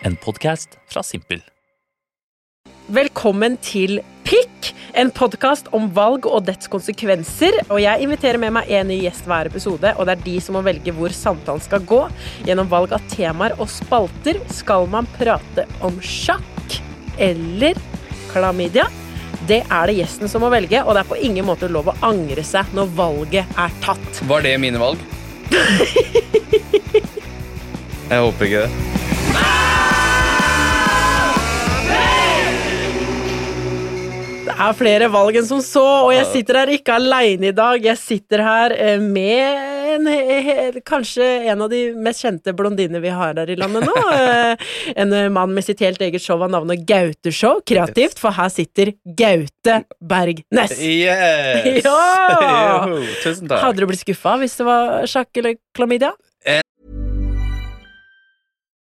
En podkast fra Simpel. Velkommen til Pikk, en podkast om valg og dets konsekvenser. Og jeg inviterer med meg en ny gjest hver episode, og det er de som må velge hvor samtalen skal gå. Gjennom valg av temaer og spalter skal man prate om sjakk eller klamydia. Det er det gjesten som må velge, og det er på ingen måte lov å angre seg når valget er tatt. Var det mine valg? Jeg håper ikke det. Det er flere valg enn som så, og jeg sitter her ikke aleine i dag. Jeg sitter her eh, med en, eh, kanskje en av de mest kjente blondinene vi har her i landet nå. Eh, En eh, mann med sitt helt eget show av navnet Gauteshow. Kreativt, for her sitter Gaute Bergnes. Yes! Ja! Jo, tusen takk. Hadde du blitt skuffa hvis det var sjakk eller klamydia?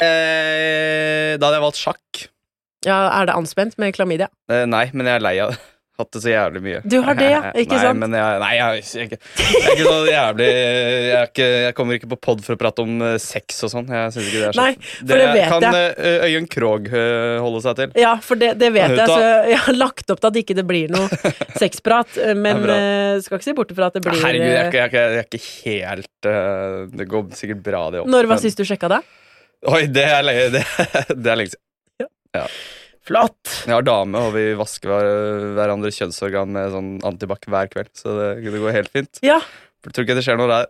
Eh, Da hadde jeg valgt sjakk. Ja, Er det anspent med klamydia? Eh, Nei, men jeg er lei av det. Hatt det så jævlig mye. Du har det, ja. Ikke nei, sant? Men jeg, nei, jeg, er ikke- jeg er ikke så jævlig Jeg, er ikke, jeg kommer ikke på pod for å prate om eh, sex og sånn. Jeg synes ikke det er så Nei, for det vet Kan jeg. eh, Øyunn Krogh eh, holde seg til? Ja, for det, det vet Ut jeg, da. så jeg har lagt opp til at ikke det blir noe sexprat. Men Det er bra. eh, skal ikke se bort ifra at det blir Herregud, jeg er eh, ikke, jeg er ikke, jeg er ikke helt eh, Det går sikkert bra, det opp. eh, Når men- var sist du sjekka det? Oi, det er lenge, det, det er lenge siden. Flott! Jeg har dame, og vi vasker hver, hverandre kjønnsorgan med sånn antibac hver kveld. Så det, det går helt fint. Ja, Jeg tror ikke det skjer noe der.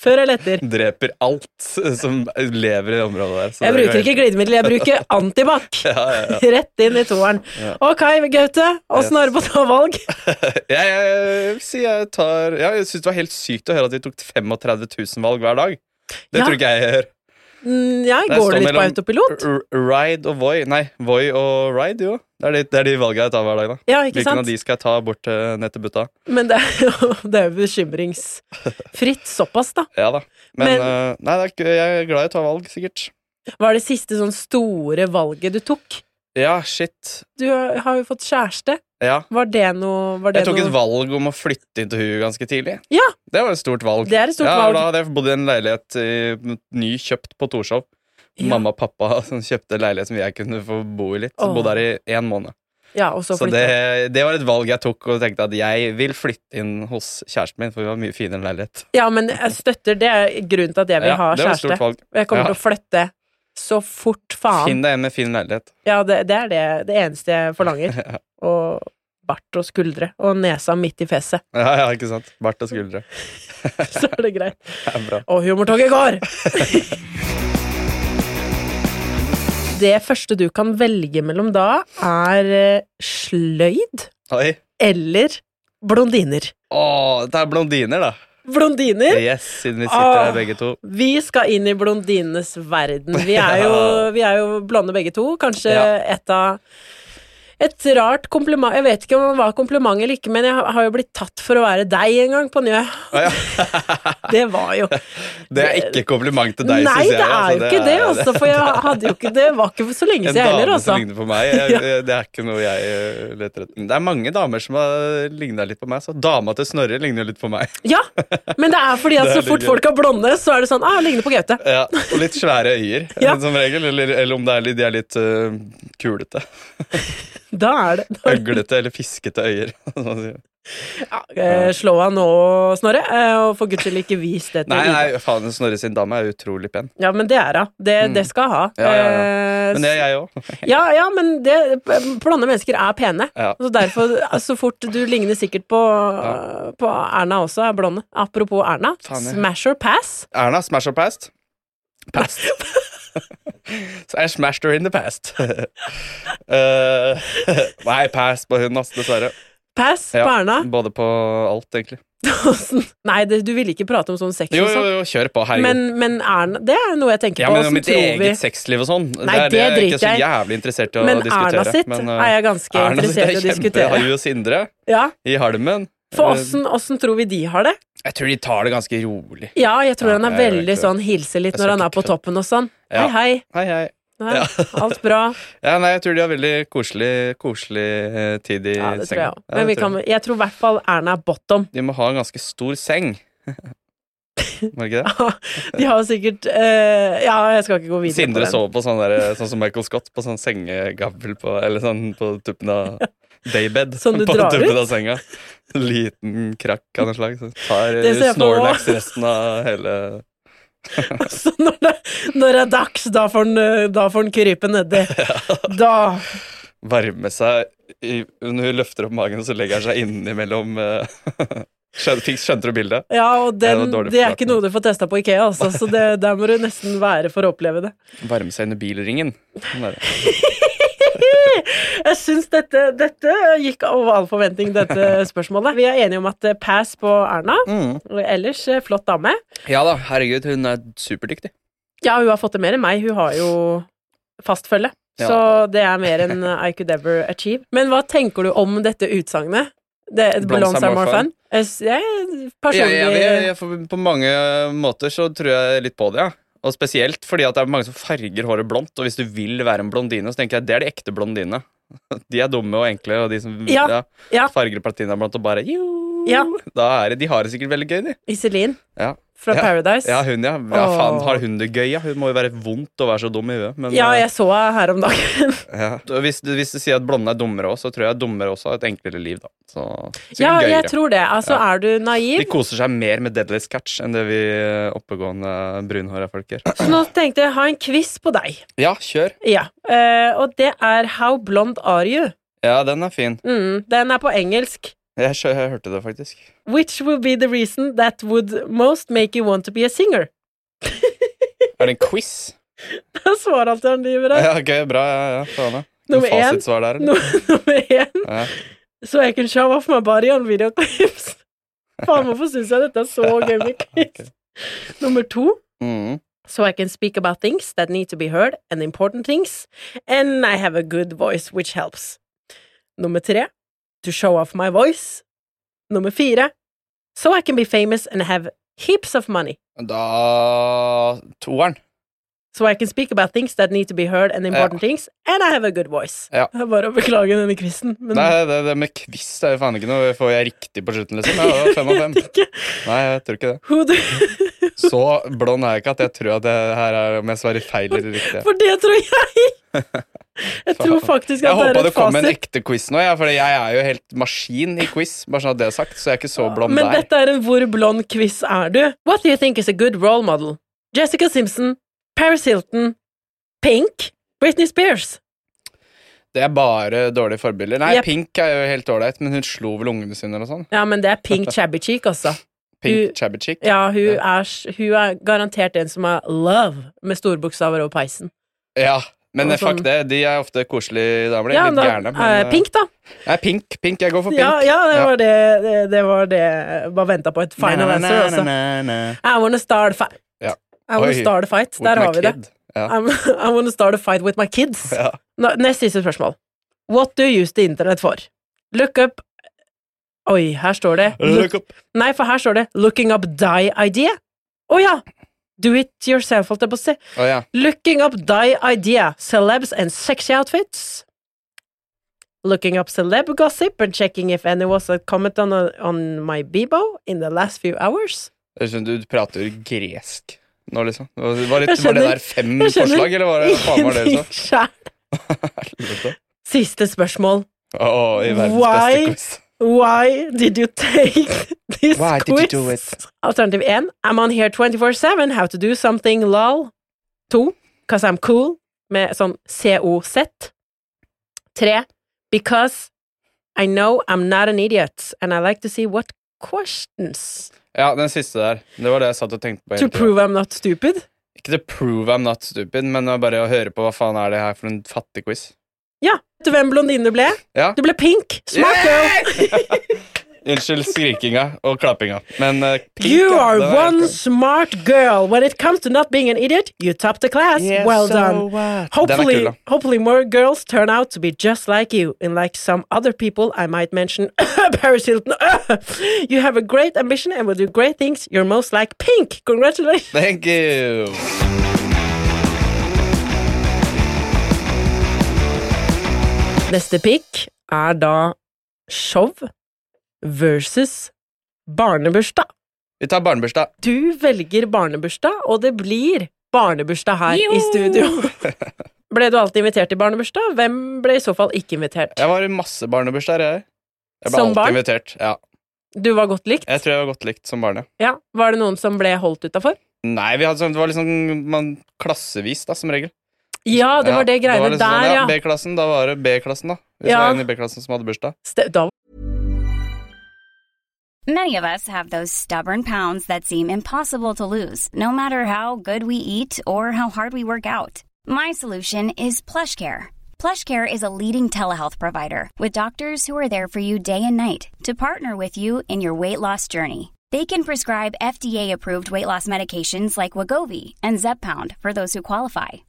før eller etter. Dreper alt som lever i området der. så Jeg det går bruker helt- ikke glidemiddel, jeg bruker antibac. ja, ja, ja. Rett inn i toeren. Ok, Gaute, åssen har du på å ta valg? Jeg, jeg, vil si jeg, tar, ja, jeg syns det var helt sykt å høre at vi tok 35 000 valg hver dag. Det Ja. tror ikke jeg jeg gjør. Mm, Ja, Det går står det litt på mellom autopilot? R- Ride og Voi. Nei, Voi og Ride, jo. Det er de, det er de valgene jeg tar hver dag. da Ja, ikke Hvilken sant? av de skal jeg ta bort eh, ned til butta? Men det er jo, det er jo bekymringsfritt såpass, da. Ja da. Men, Men- eh, nei, det er, ikke- jeg er glad i å ta valg, sikkert. Hva er det siste sånn store valget du tok? Ja, shit. Du har jo fått kjæreste. Ja. Var det noe var det Jeg tok noe- et valg om å flytte inn til henne ganske tidlig. Ja. Det var et stort valg. Det er et stort ja, og valg. Da hadde jeg bodd i en leilighet eh, ny kjøpt på Torshov. Ja. Mamma og pappa som kjøpte en leilighet som jeg kunne få bo i litt. Så Åh. Bodde her i én måned. Ja, og så Så flytta. det, det var et valg jeg tok, og tenkte at jeg vil flytte inn hos kjæresten min. For vi har mye finere leilighet. Ja, men jeg støtter det er grunnen til at jeg vil Ja, ha det var et stort kjæreste. valg. Og jeg kommer Ja. til å flytte så fort faen. Finn deg en med fin leilighet. Ja, det, det er det, det eneste jeg forlanger. Og bart og skuldre og nesa midt i fjeset. Ja, ja, ikke sant? Bart og skuldre. Så er det greit. Det er bra. Og humortoget går! Det første du kan velge mellom da, er eh, sløyd Oi. eller blondiner. Å, det er blondiner, da. Blondiner Yes, siden vi sitter Åh. her begge to. Vi skal inn i blondinenes verden. Vi er jo, vi er jo blonde begge to. Kanskje Ja. et av Et rart kompliment Jeg vet ikke om det var kompliment eller ikke, men jeg har- har jo blitt tatt for å være deg en gang på Njø. Å, ja. Det var jo Det er ikke kompliment til deg, Nei, synes det jeg. er jo altså, ikke det, altså. For jeg hadde jo ikke Det var ikke for så lenge En siden heller, dame som altså. ligner på meg, jeg, det er ikke noe jeg eh, leter etter. Det er mange damer som har ligna litt på meg, så dama til Snorre ligner jo litt på meg. Ja, men det er fordi at Det er så fort litt gøy. folk er blonde, så er det sånn ah, ligner på Gaute. Ja, og litt svære øyer, eh, Ja. som regel. Eller, eller om det er litt, de er litt eh, kulete. Da er det da er det- Øglete eller fiskete øyer. som man sier. Ja, eh, slå av nå, Snorre, eh, og for guds skyld ikke vis det til Nei, Ida. nei, faen, Snorre sin dame er utrolig pen. Ja, men det er hun. Det, det skal hun ha. Mm. Ja, ja, Eh, Men det er jeg òg. ja, ja, men det, blonde mennesker er pene. Ja. Så derfor, eh, så fort Du ligner sikkert på, på Erna også, er blonde. Apropos Erna. Faen, ja. Smash or pass? Erna, smash or past? Past. Så jeg smashed her in the past. Eh, nei, past på hun, ass, dessverre. Pass Ja, på Erna? Både på alt, egentlig. Åssen- Nei, det, du ville ikke prate om sånn sex Jo, og jo, sånn. jo, kjør på, herregud. Men, men Erna Det er noe jeg tenker ja, på. men som mitt tror eget vi- sexliv og sånn, Nei, det er det det jeg er ikke så driter jeg i. jævlig interessert i å Men diskutere. Erna sitt eh, er jeg ganske Erna sitt interessert i å er kjempe- diskutere. Har jo Sindre Ja, i halmen. For Eh, åssen- åssen tror vi de har det? Jeg tror de tar det ganske rolig. Ja, jeg tror Ja, han er jeg gjør veldig ikke det. sånn hilser litt Jeg skal når han er ikke på kødde. toppen og sånn. Ja. Hei, hei. Hei, hei. Nei, Ja. Alt bra. Ja, nei, jeg tror de har veldig koselig, koselig eh, tid i Ja, det tror jeg senga. òg. Ja, Men det vi tror jeg. kan, jeg tror i hvert fall Erna er bottom. De må ha en ganske stor seng. Må det ikke det? De har sikkert eh, Ja, jeg skal ikke gå videre Sindre på den. sover på sånn, der, sånn som Michael Scott, på sånn sengegavl på Eller sånn på tuppen av daybed. Sånn du på drar tuppen ut? av senga. Liten krakk av noe slag. Så tar Det ser jeg for Snorlax resten av hele Så når det, når det er dags, da får han, eh, da får han krype nedi. Da Varme seg i, Når hun løfter opp magen, så legger han seg innimellom eh, skjøn- fikk- Skjønte du bildet? Ja, og Nei, det var den, dårlig det er ikke forklart. noe du får testa på Ikea, altså, så det, der må du nesten være for å oppleve det. Varme seg under bilringen. Sånn er det. Jeg syns dette, dette gikk over all forventning, dette spørsmålet. Vi er enige om at eh, pass på Erna. Mm. Ellers eh, flott dame. Ja da, herregud, hun er superdyktig. Ja, hun har fått det mer enn meg. Hun har jo fast følge. Ja. Så det er mer enn I could ever achieve. Men hva tenker du om dette utsagnet? Det, Blondes Blondes are are more more fun. Jeg s- jeg Ja, personlig jeg, jeg, jeg, for på mange måter så tror jeg litt på det, ja. Og spesielt fordi at det er mange som farger håret blondt, og hvis du vil være en blondine, så tenker jeg det er de ekte blondinene. De er dumme og enkle, og de som Ja, ja. farger platina blondt og bare jo, Ja. da er det, De har det sikkert veldig gøy, de. Iselin Ja, fra Ja. Paradise. ja hun, ja. ja Åh. faen, har hun det gøy, ja? Hun må jo være vondt å være så dum i huet. Men, Ja, eh, jeg så henne her om dagen. ja. Og Hvis, du- hvis du sier at blonde er dummere også, så tror jeg dummere også har et enklere liv, da. Så sikkert Ja, gøyere. jeg tror det. Altså, er du naiv? De koser seg mer med Deadly Catch enn det vi eh, oppegående brunhåra folk gjør. Så nå tenkte jeg ha en quiz på deg. Ja, kjør. Ja, eh, og det er How blond are you? Ja, den er fin. Mm, den er på engelsk. Jeg, skjø- jeg hørte det faktisk. Which will be the reason that would most make you want to be a singer? Er det en quiz? Svaralternativer er Ja, ok, bra. Ja, ja, faen, ja. Nummer én. Fasitsvar der, eller? no, nummer én Ja. So I can show off my body on video clips. Faen, hvorfor syns jeg dette er så gøy med quiz? Nummer to Mm. So I can speak about things that need to be heard, and important things. And I have a good voice, which helps. Nummer tre To show off my voice. Nummer fire So I can be famous and have heaps of money. Da Toeren. So I can speak about things that need to be heard and important things, and I have a good voice. Ja. Det er bare å beklage denne quizen, men Nei, det, det med quiz det er jo faen ikke noe Får jeg riktig på slutten, liksom? Ja, det var fem av fem. ikke Nei, jeg tror ikke det. who do Så blond er jeg ikke at jeg tror at det her er om jeg svarer feil eller riktig. For det tror jeg! Jeg tror faktisk at Jeg det håpa er det et kom en fasit. ekte quiz nå, ja, for jeg er jo helt maskin i quiz. Bare sånn at det er sagt, så jeg er ikke så blond Men der. dette er en hvor blond quiz er du? What do you think is a good role model? Jessica Simpson, Paris Hilton, Pink, Britney Spears. Det er bare dårlige forbilder. Nei, Jep. Pink er jo helt ålreit, men hun slo vel ungene sine eller noe sånt. Ja, men det er Pink Chabby Cheek, altså. Pink Hun- Chabby Chick. Ja. Ja, hun er, s- hun er garantert en som er love, med storbokstaver over peisen. Men eh, Og fuck sånn- det, de er ofte koselige damer. de. Ja, litt da, gærne. eh, Men, eh, Pink, da. Nei, Pink. Pink, Jeg går for Pink. Ja, ja, det var det det, det var det. Bare venta på et final Na, na, answer, na, altså. na, na, na. I wanna start a fight. Ja. I wanna Oi. start a fight. With Der my har vi det. kid. Ja. I'm, I wanna start a fight with my kids. Ja. Nå, nest siste spørsmål. What do you use the internet for? Look up Oi, her står det Look up. Nei, for her står det 'looking up die idea'. Å ja! Do it yourself, holdt jeg på å si. Å ja. Looking up die idea, celebs and sexy outfits. Looking up celeb gossip and checking if any was a comment on, on my Bebo in the last few hours. Jeg skjønner, du prater jo gresk nå, liksom. Det Var, var, litt, var Jeg det skjønner- der fem jeg skjønner forslag, eller var det, faen var det ingenting sjæl. liksom? Siste spørsmål. Å, i verdens Why? beste quiz. Why did you take this Why did quiz? you do it? Alternativ 1. I'm on here 24-7. How to do something, lol. 2. Because I'm cool. Med sånn COZ. 3. Because I know I'm not an idiot. And I like to see what questions. Ja, den siste der. Det var det jeg satt og tenkte på. To hele tiden. prove I'm not stupid. Ikke to prove I'm not stupid, men å bare å høre på hva faen er det her for en fattig quiz. Ja. Vet du hvem blondine du ble? Ja. Du ble pink. Smart girl. Unnskyld skrikinga og klappinga, men eh, pink, You ja, are det var one helt- smart girl. When it comes to not being an idiot, you top the class. well done. Hopefully, Den er kul, hopefully more girls turn out to be just like you and like some other people I might mention Paris Hilton. you have a great ambition and will do great things. You're most like pink. Congratulations. Thank you. Neste pick er da show versus barnebursdag. Vi tar barnebursdag. Du velger barnebursdag, og det blir barnebursdag her i studio. ble du alltid invitert til barnebursdag? Hvem ble i så fall ikke invitert? Jeg var i masse barnebursdager, jeg. Jeg ble Som alltid barn? invitert. Ja. Du var godt likt. Jeg tror jeg var godt likt som barn, ja. Ja. Var det noen som ble holdt utafor? Nei, vi hadde sånn, det var liksom man, klassevis, da, som regel. Ja, det var det greiene liksom der, sånn, ja. B-klassen, da var det B-klassen, da. Hvis Ja. det var en i B-klassen som hadde bursdag. Ste- Da Many of us have those stubborn pounds that seem impossible to lose, no matter how good we eat or how hard we work out. My solution is PlushCare. PlushCare is a leading telehealth provider with doctors who are there for you day and night to partner with you in your weight loss journey. They can prescribe FDA-approved weight loss medications like Wagovi and Zepbound for those who qualify.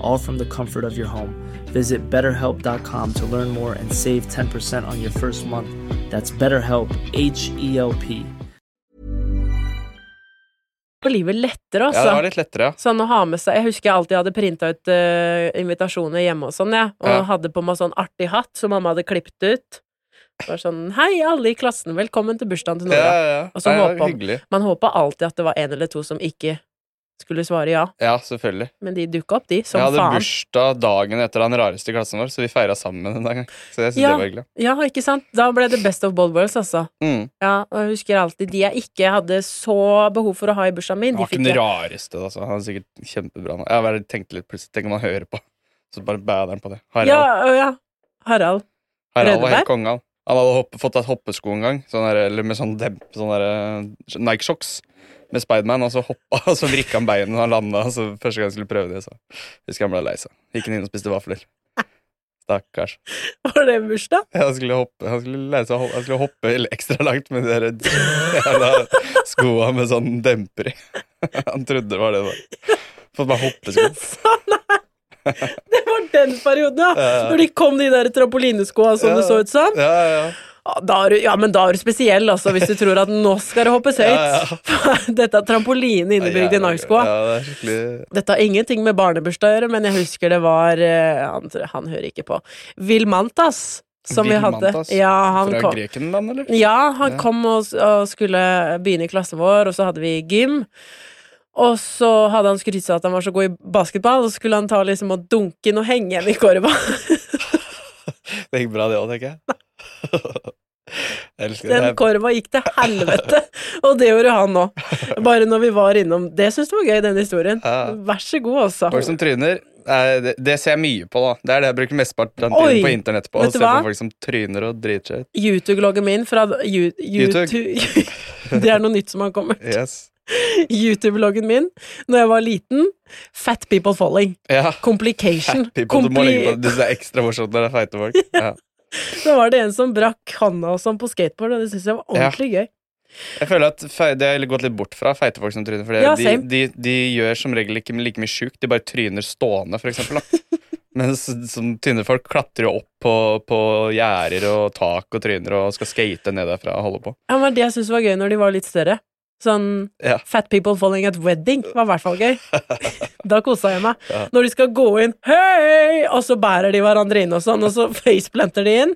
all from the comfort of your home. Visit betterhelp.com to learn more and save 10% on your first month. That's BetterHelp, H E L P. var livet lettere, Ja, det var altså. litt lettere, ja. Sånn å ha med seg Jeg husker jeg alltid hadde printa ut eh, invitasjoner hjemme og sånn, jeg. Og Ja. hadde på meg sånn artig hatt som mamma hadde klippet ut. Det var sånn Hei, alle i klassen, velkommen til bursdagen til Ja, Nora. ja, ja. Og så ja, håpa man- hyggelig. Man håpa alltid at det var en eller to som ikke skulle svare ja, Ja, selvfølgelig. men de dukka opp, de, som jeg hadde faen. bursdag dagen etter han rareste i klassen vår, så vi feira sammen en gang. Så jeg synes det Ja. var hyggelig. Ja, ikke sant? Da ble det best of bold worlds, altså. Mm. Ja, og jeg husker alltid de jeg ikke hadde så behov for å ha i bursdagen min, Han var de ikke den fikk jeg. rareste, altså. Han er sikkert kjempebra. nå. Jeg bare tenkte litt plutselig, tenk om han hører på. Så bare bæder han på det. Harald, Ja, å ja. Harald. Harald var Rødeberg? helt konge, han. Han hadde hopp, fått et hoppesko en gang, sånn der, eller med sånn, demp- sånn der, eh, Nike Shocks med Spiderman, og så hoppa, og så vrikka han beinet når han landa. Så første gang han skulle prøve det, så husker jeg han ble lei seg. Gikk han inn og spiste vafler. Stakkars. Var det bursdag? Ja, Han skulle hoppe, han skulle lære seg å hoppe, han skulle hoppe ekstra langt med de der jævla skoa med sånn demper i. Han trodde det var det. da. Fått meg hoppesko. Så nei! Sånn Det var den perioden, ja. Ja, ja. Når de kom, de der trampolineskoa som det så ut som. Ja, ja, ja. Ja, da er du, ja, men da er du spesiell, altså, hvis du tror at nå skal det hoppes Ja, høyt. Dette er trampoline innebygd i Jævla Nike-skoa. gøy. Ja, det er skikkelig Dette har ingenting med barnebursdag å gjøre, men jeg husker det var eh, han, han hører ikke på. Vilmantas, som vi Vilmantas? hadde. Ja, han Fra kom. Grekenland, eller? Ja, han kom og, s- og skulle begynne i klassen vår, og så hadde vi gym. Og så hadde han skrytt seg at han var så god i basketball, og så skulle han ta liksom og dunke inn og henge igjen i korva. Det gikk bra, det òg, tenker jeg. jeg elsker det. Den korva gikk til helvete, og det gjorde han nå. Bare når vi var innom. Det syns jeg var gøy, den historien. Ja. Vær så god, Folk altså. som tryner, eh, det, det ser jeg mye på, da. Det er det jeg bruker mesteparten av Oi! tiden på internett på. Å Vet du se på hva? folk som tryner og driter seg ut. YouTube-loggen min fra Ju- YouTube. YouTube Det er noe nytt som har kommet. Yes. YouTube-loggen min når jeg var liten. Fat people falling. Ja. Complication. Happy på, du må Compli- legge på det. Det er ekstra morsomt når det er feite folk. Ja. Da var det en som brakk handa og sånn på skateboard, og det syntes jeg var ordentlig gøy. Jeg føler at fei- Det har gått litt bort fra feite folk som tryner. For det, Ja, de, same. de, de gjør som regel ikke like mye sjukt. De bare tryner stående, for eksempel. Da. Mens sånn, tynne folk klatrer jo opp på, på gjerder og tak og tryner og skal skate ned derfra og holde på. Ja, men det jeg syntes var gøy når de var litt større. Sånn Ja. Fat people falling at wedding var i hvert fall gøy. da kosa jeg meg. Ja. Når de skal gå inn, hei, og så bærer de hverandre inn og sånn, og så faceplanter de inn.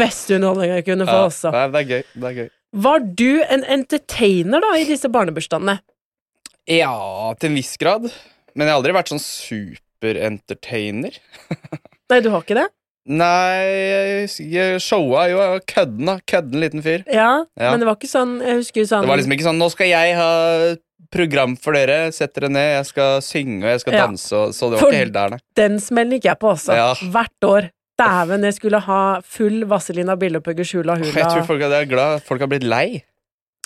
Beste underholdning jeg kunne få, Ja. altså. Nei, det er gøy. Det er gøy. Var du en entertainer, da, i disse barnebursdagene? Ja, til en viss grad. Men jeg har aldri vært sånn superentertainer. Nei, du har ikke det? Nei, jeg showa jo jeg var kødden, da. Kødden liten fyr. Ja, Ja. men det var ikke sånn Jeg husker jo sånn Det var liksom ikke sånn 'nå skal jeg ha program for dere', sett dere ned, jeg skal synge og jeg skal Ja. danse, og så det var For- ikke helt der, nei. Den smellen gikk jeg på, altså. Ja. Hvert år. Dæven, jeg skulle ha full Vazelina Billopphøggers hula Åh, hula. Jeg tror folk er, jeg er glad folk har blitt lei.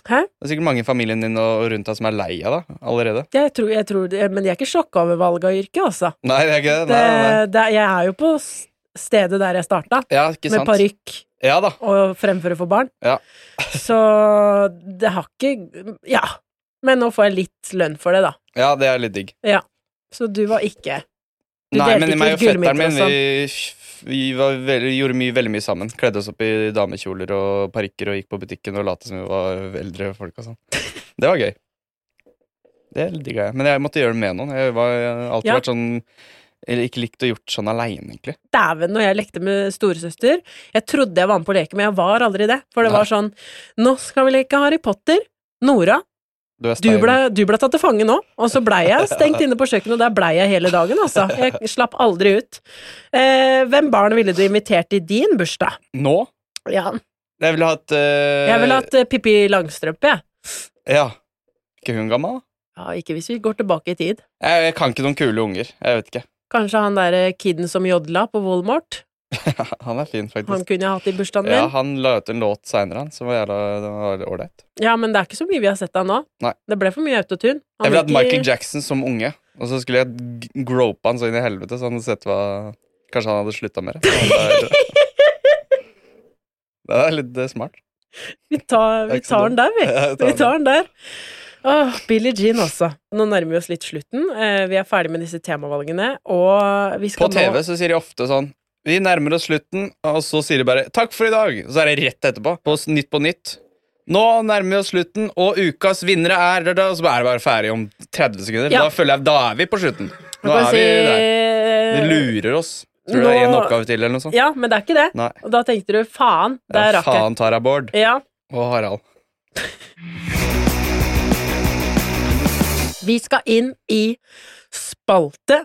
Hæ? Det er sikkert mange i familien din og rundt deg som er lei av deg allerede. Jeg tror, jeg tror det, men jeg er ikke sjokka over valget av yrke, altså. Nei, det er ikke det. Det, Nei, nei, nei. det, jeg er jo på s- stedet der jeg starta, Ja, ikke med sant. parykk Ja da. og fremføre for barn. Ja. Så det har ikke Ja. Men nå får jeg litt lønn for det, da. ja, det er litt digg. Ja. Så du var ikke Du Nei, delte men ikke meg og ut gullmynter fetteren min og sånn. vi, vi var veldig, gjorde mye, veldig mye sammen. Kledde oss opp i damekjoler og parykker og gikk på butikken og lot som vi var eldre folk. og sånn Det var gøy. Det digga jeg. Men jeg måtte gjøre det med noen. Jeg var jeg har alltid Ja. vært sånn Eller ikke likt å gjort sånn aleine, egentlig. Dæven, når jeg lekte med storesøster Jeg trodde jeg var med på å leke, men jeg var aldri det. For det Nei. var sånn Nå skal vi leke Harry Potter. Nora, er du stein. ble, du ble tatt til fange nå. Og så blei jeg stengt inne på kjøkkenet, og der blei jeg hele dagen, altså. Jeg slapp aldri ut. Eh, hvem barn ville du invitert i din bursdag? Nå? Ja. Jeg ville hatt eh, Jeg ville hatt eh, Pippi Langstrømpe, jeg. Ja. Ikke hun gammel, da? Ja, ikke hvis vi går tilbake i tid. Jeg, jeg kan ikke noen kule unger. Jeg vet ikke. Kanskje han derre kiden som jodla på Voldemort. Han er fin, faktisk. Han kunne jeg hatt i bursdagen ja, min. han la ut en låt seinere, han, som var jævla den var ålreit. Ja, men det er ikke så mye vi har sett av nå. Nei. Det ble for mye autotune. Han Jeg ville hatt gikk i- Michael Jackson som unge, og så skulle jeg g- grope han så inn i helvete, så han hadde sett hva Kanskje han hadde slutta med det. Han var eldre. Det er litt eh, smart. Vi tar, vi Det er ikke så tar den dumt. der, vi. Ja, jeg tar Vi den. tar den der. Åh, Billie Jean også. Nå nærmer vi oss litt slutten. Eh, vi er ferdig med disse temavalgene, og vi På skal TV nå så sier de ofte sånn Vi nærmer oss slutten, og så sier de bare 'takk for i dag', og så er det rett etterpå. På s- Nytt på nytt. Nå nærmer vi oss slutten, og ukas vinnere er da, da, Og så er det bare ferdig om 30 sekunder. Ja. Da føler jeg, da er vi på slutten. Nå Kan er vi der. jeg De si- lurer oss. Tror du det er én Nå- oppgave til, eller noe sånt? Eh, Ja, men det er ikke det. Nei. Og da tenkte du faen, der Ja, rakk jeg. faen, Tara Bård Ja. og Harald. Vi skal inn i spalte.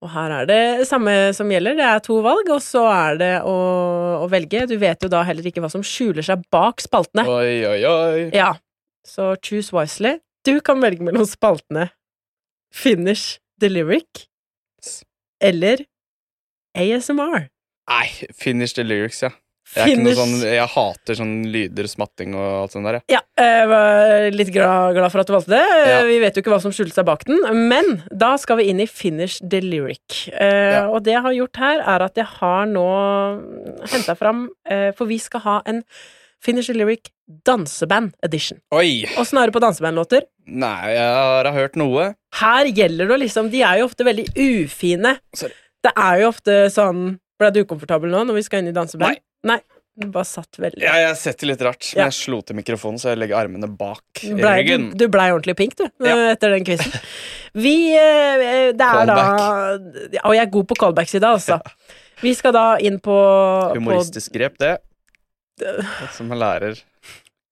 Og her er det samme som gjelder. Det er to valg, og så er det å, å velge. Du vet jo da heller ikke hva som skjuler seg bak spaltene. Oi, oi, oi. Ja, så choose wisely. Du kan velge mellom spaltene Finish the lyric eller ASMR. Nei, finish the lyrics, ja. Jeg, er ikke noe Finish sånn, jeg hater sånn lyder, smatting og alt sånt der. jeg. Ja, jeg var litt glad, glad for at du valgte det. Ja. Vi vet jo ikke hva som skjulte seg bak den, men da skal vi inn i Finish the lyric. Eh, Ja. Og det jeg har gjort her, er at jeg har nå henta fram eh, For vi skal ha en Finish the lyric danseband edition. Oi! Åssen er du på dansebandlåter? Nei, jeg har hørt noe. Her gjelder det å liksom De er jo ofte veldig ufine. Sorry. Det er jo ofte sånn Ble du ukomfortabel nå når vi skal inn i danseband? Nei. Du bare satt veldig Ja, jeg har sett det litt rart, men Ja. jeg slo til mikrofonen, så jeg legger armene bak i Blei- ryggen. du, du blei ordentlig pink, du, Ja. etter den quizen. Vi eh, Det er da ja, Og jeg er god på callbacks i dag, altså. Vi skal da inn på, på Humoristisk grep, det. Som en lærer.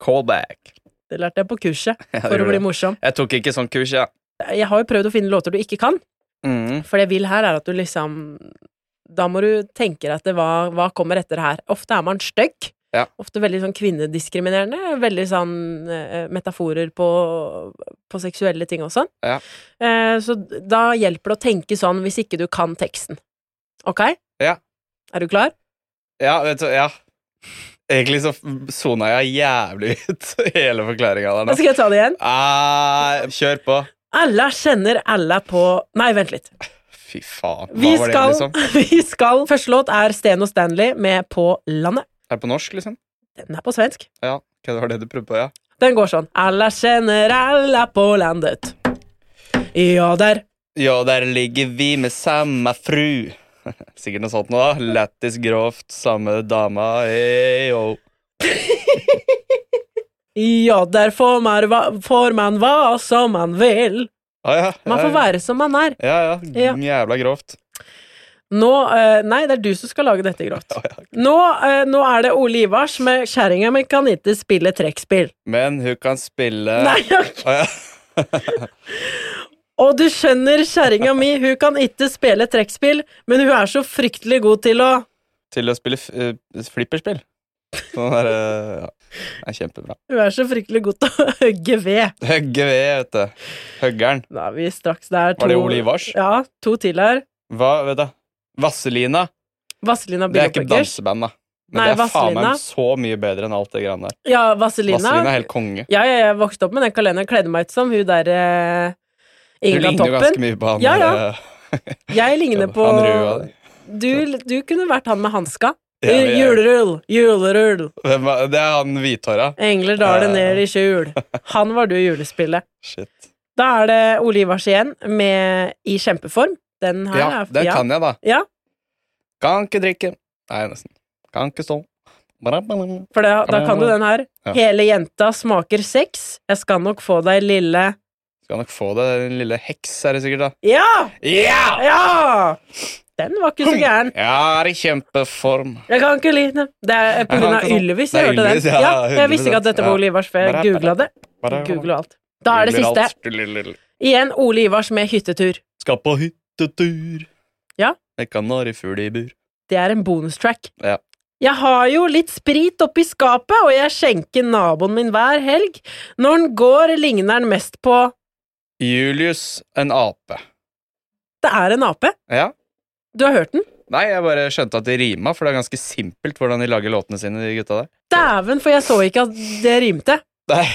Callback. Det lærte jeg på kurset Ja, for å gjorde bli det. morsom. Jeg tok ikke sånn kurs, jeg. Jeg har jo prøvd å finne låter du ikke kan, Mm. for det jeg vil her, er at du liksom Da må du tenke deg at det, hva, hva kommer etter her. Ofte er man stygg. Ja. Ofte veldig sånn kvinnediskriminerende. Veldig sånn eh, metaforer på, på seksuelle ting og sånn. Ja. Eh, så da hjelper det å tenke sånn hvis ikke du kan teksten. Ok? Ja. Er du klar? Ja, vet du, ja. Egentlig så sona jeg jævlig ut hele forklaringa der Da nå. skal jeg ta det igjen. Ah, kjør på. Alle kjenner alle på Nei, vent litt. Fy faen, hva Vi var det, skal, liksom? vi skal Første låt er Sten og Stanley med På landet. Er det på norsk, liksom? Den er på svensk. Ja, ok, det var det du prøvde på, ja. Den går sånn. Alla känner alla på landet. Ja, der. Ja, der ligger vi med samme fru. Sikkert noe sånt noe, da. Lættis grovt, samme dama, hey, yo. Ja, der får man, hva- får man hva som man vil. Ah, ja, Man ja, får ja. være som man er. Ja, ja. Ja. Jævla grovt. Nå, eh, Nei, det er du som skal lage dette grovt. Nå, eh, nå er det Ole Ivars med 'Kjerringa mi kan ikke spille trekkspill'. Men hun kan spille Nei, ok. Ah, ja. Og du skjønner, kjerringa mi, hun kan ikke spille trekkspill, men hun er så fryktelig god til å Til å spille f eh, flipperspill. Sånn der, eh, ja. Det er kjempebra. Hun er så fryktelig god til å hogge ved. Høgge ved, vet du. Høggeren. Da er vi straks der. Var det Ole Ivars? Ja, to til her. Hva, vet du? Vasselina. Vazelina Det er ikke Bilopphøggers. danseband, da. Men Nei, det er faen meg Vazelina. så mye bedre enn alt det greiene der. Ja, Vazelina. Vasselina er helt konge. Ja, ja, jeg vokste opp med den kalenderen. Kledde meg ut som hun der eh, Du Inga ligner jo ganske Toppen. mye på han Ja, ja. eh, Jeg ligner på Han røde av deg. du, du kunne vært han med hanska. Ja, men jeg- Julerull, julerull, Hvem er- Det er han hvithåra. engler daler Ja. ned i skjul. Han var du i julespillet. Shit. Da er det Ole Ivars igjen med I kjempeform. Den her Ja, er den kan jeg, da. Ja, Kan ikke drikke. Nei, nesten. Kan ikke stå. Ba-da-ba-da. for da, da kan du den her. Ja. Hele jenta smaker sex. Jeg skal nok få deg lille Skal nok få det. Den lille heks er det sikkert, da. Ja! Ja! Ja! Den var ikke så gæren. Jeg er i kjempeform. Jeg kan ikke lide den. Det er på Jeg grunn kan av ikke sånn. Ylvis Det jeg er hørte den. Ylvis, ja, Ja, jeg visste ikke at dette var ja. Ole Ivars før jeg Bare- googla det. Bare- Googlet alt. Da er det Googler siste. alt. Lululul. Igjen Ole Ivars med hyttetur. Skal på hyttetur. Ja. Med kanarifugl i bur. Det er en bonustrack. Ja. Jeg har jo litt sprit oppi skapet, og jeg skjenker naboen min hver helg. Når han går, ligner han mest på Julius, en ape. Det er en ape. Ja. Du har hørt den? Nei, jeg bare skjønte at det rima, for det er ganske simpelt hvordan de lager låtene sine, de gutta der. Dæven, for jeg så ikke at det rimte. Nei,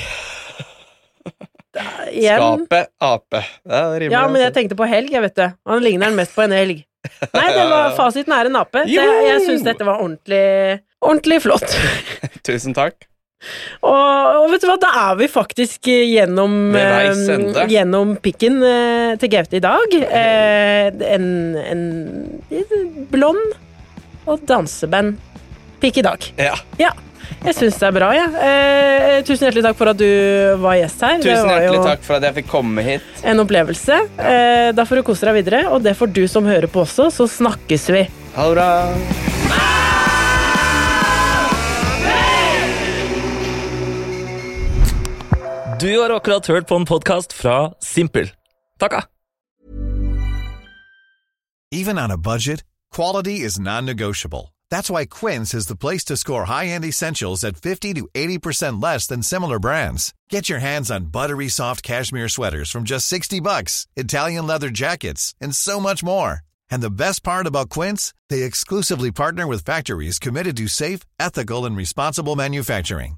Igjen. Skape, ape. Ja, det rimer. Ja, men jeg altså. tenkte på helg, jeg, vet du. Han ligner han mest på en helg. Nei, det var fasiten er en ape. Det, Jo! jeg syns dette var ordentlig Ordentlig flott. Tusen takk. Og, og vet du hva, da er vi faktisk gjennom, Ved veis eh, ende. gjennom pikken eh, til Gaute i dag. Eh, en, en blond og danseband-pikk i dag. Ja. Ja, jeg syns det er bra, jeg. Eh, tusen hjertelig takk for at du var gjest her. Tusen det var hjertelig jo takk for at jeg fikk komme hit. en opplevelse. Eh, da får du kose deg videre, og det får du som hører på også, så snakkes vi. Ha det bra. Du har akkurat hørt på en podkast fra Simpel. Takka! Even on a budget, quality is non-negotiable. That's why Quince is the place to score high-end essentials at 50 to 80% less than similar brands. Get your hands on buttery soft cashmere sweaters from just 60 bucks, Italian leather jackets, and so much more. And the best part about Quince, they exclusively partner with factories committed to safe, ethical, and responsible manufacturing.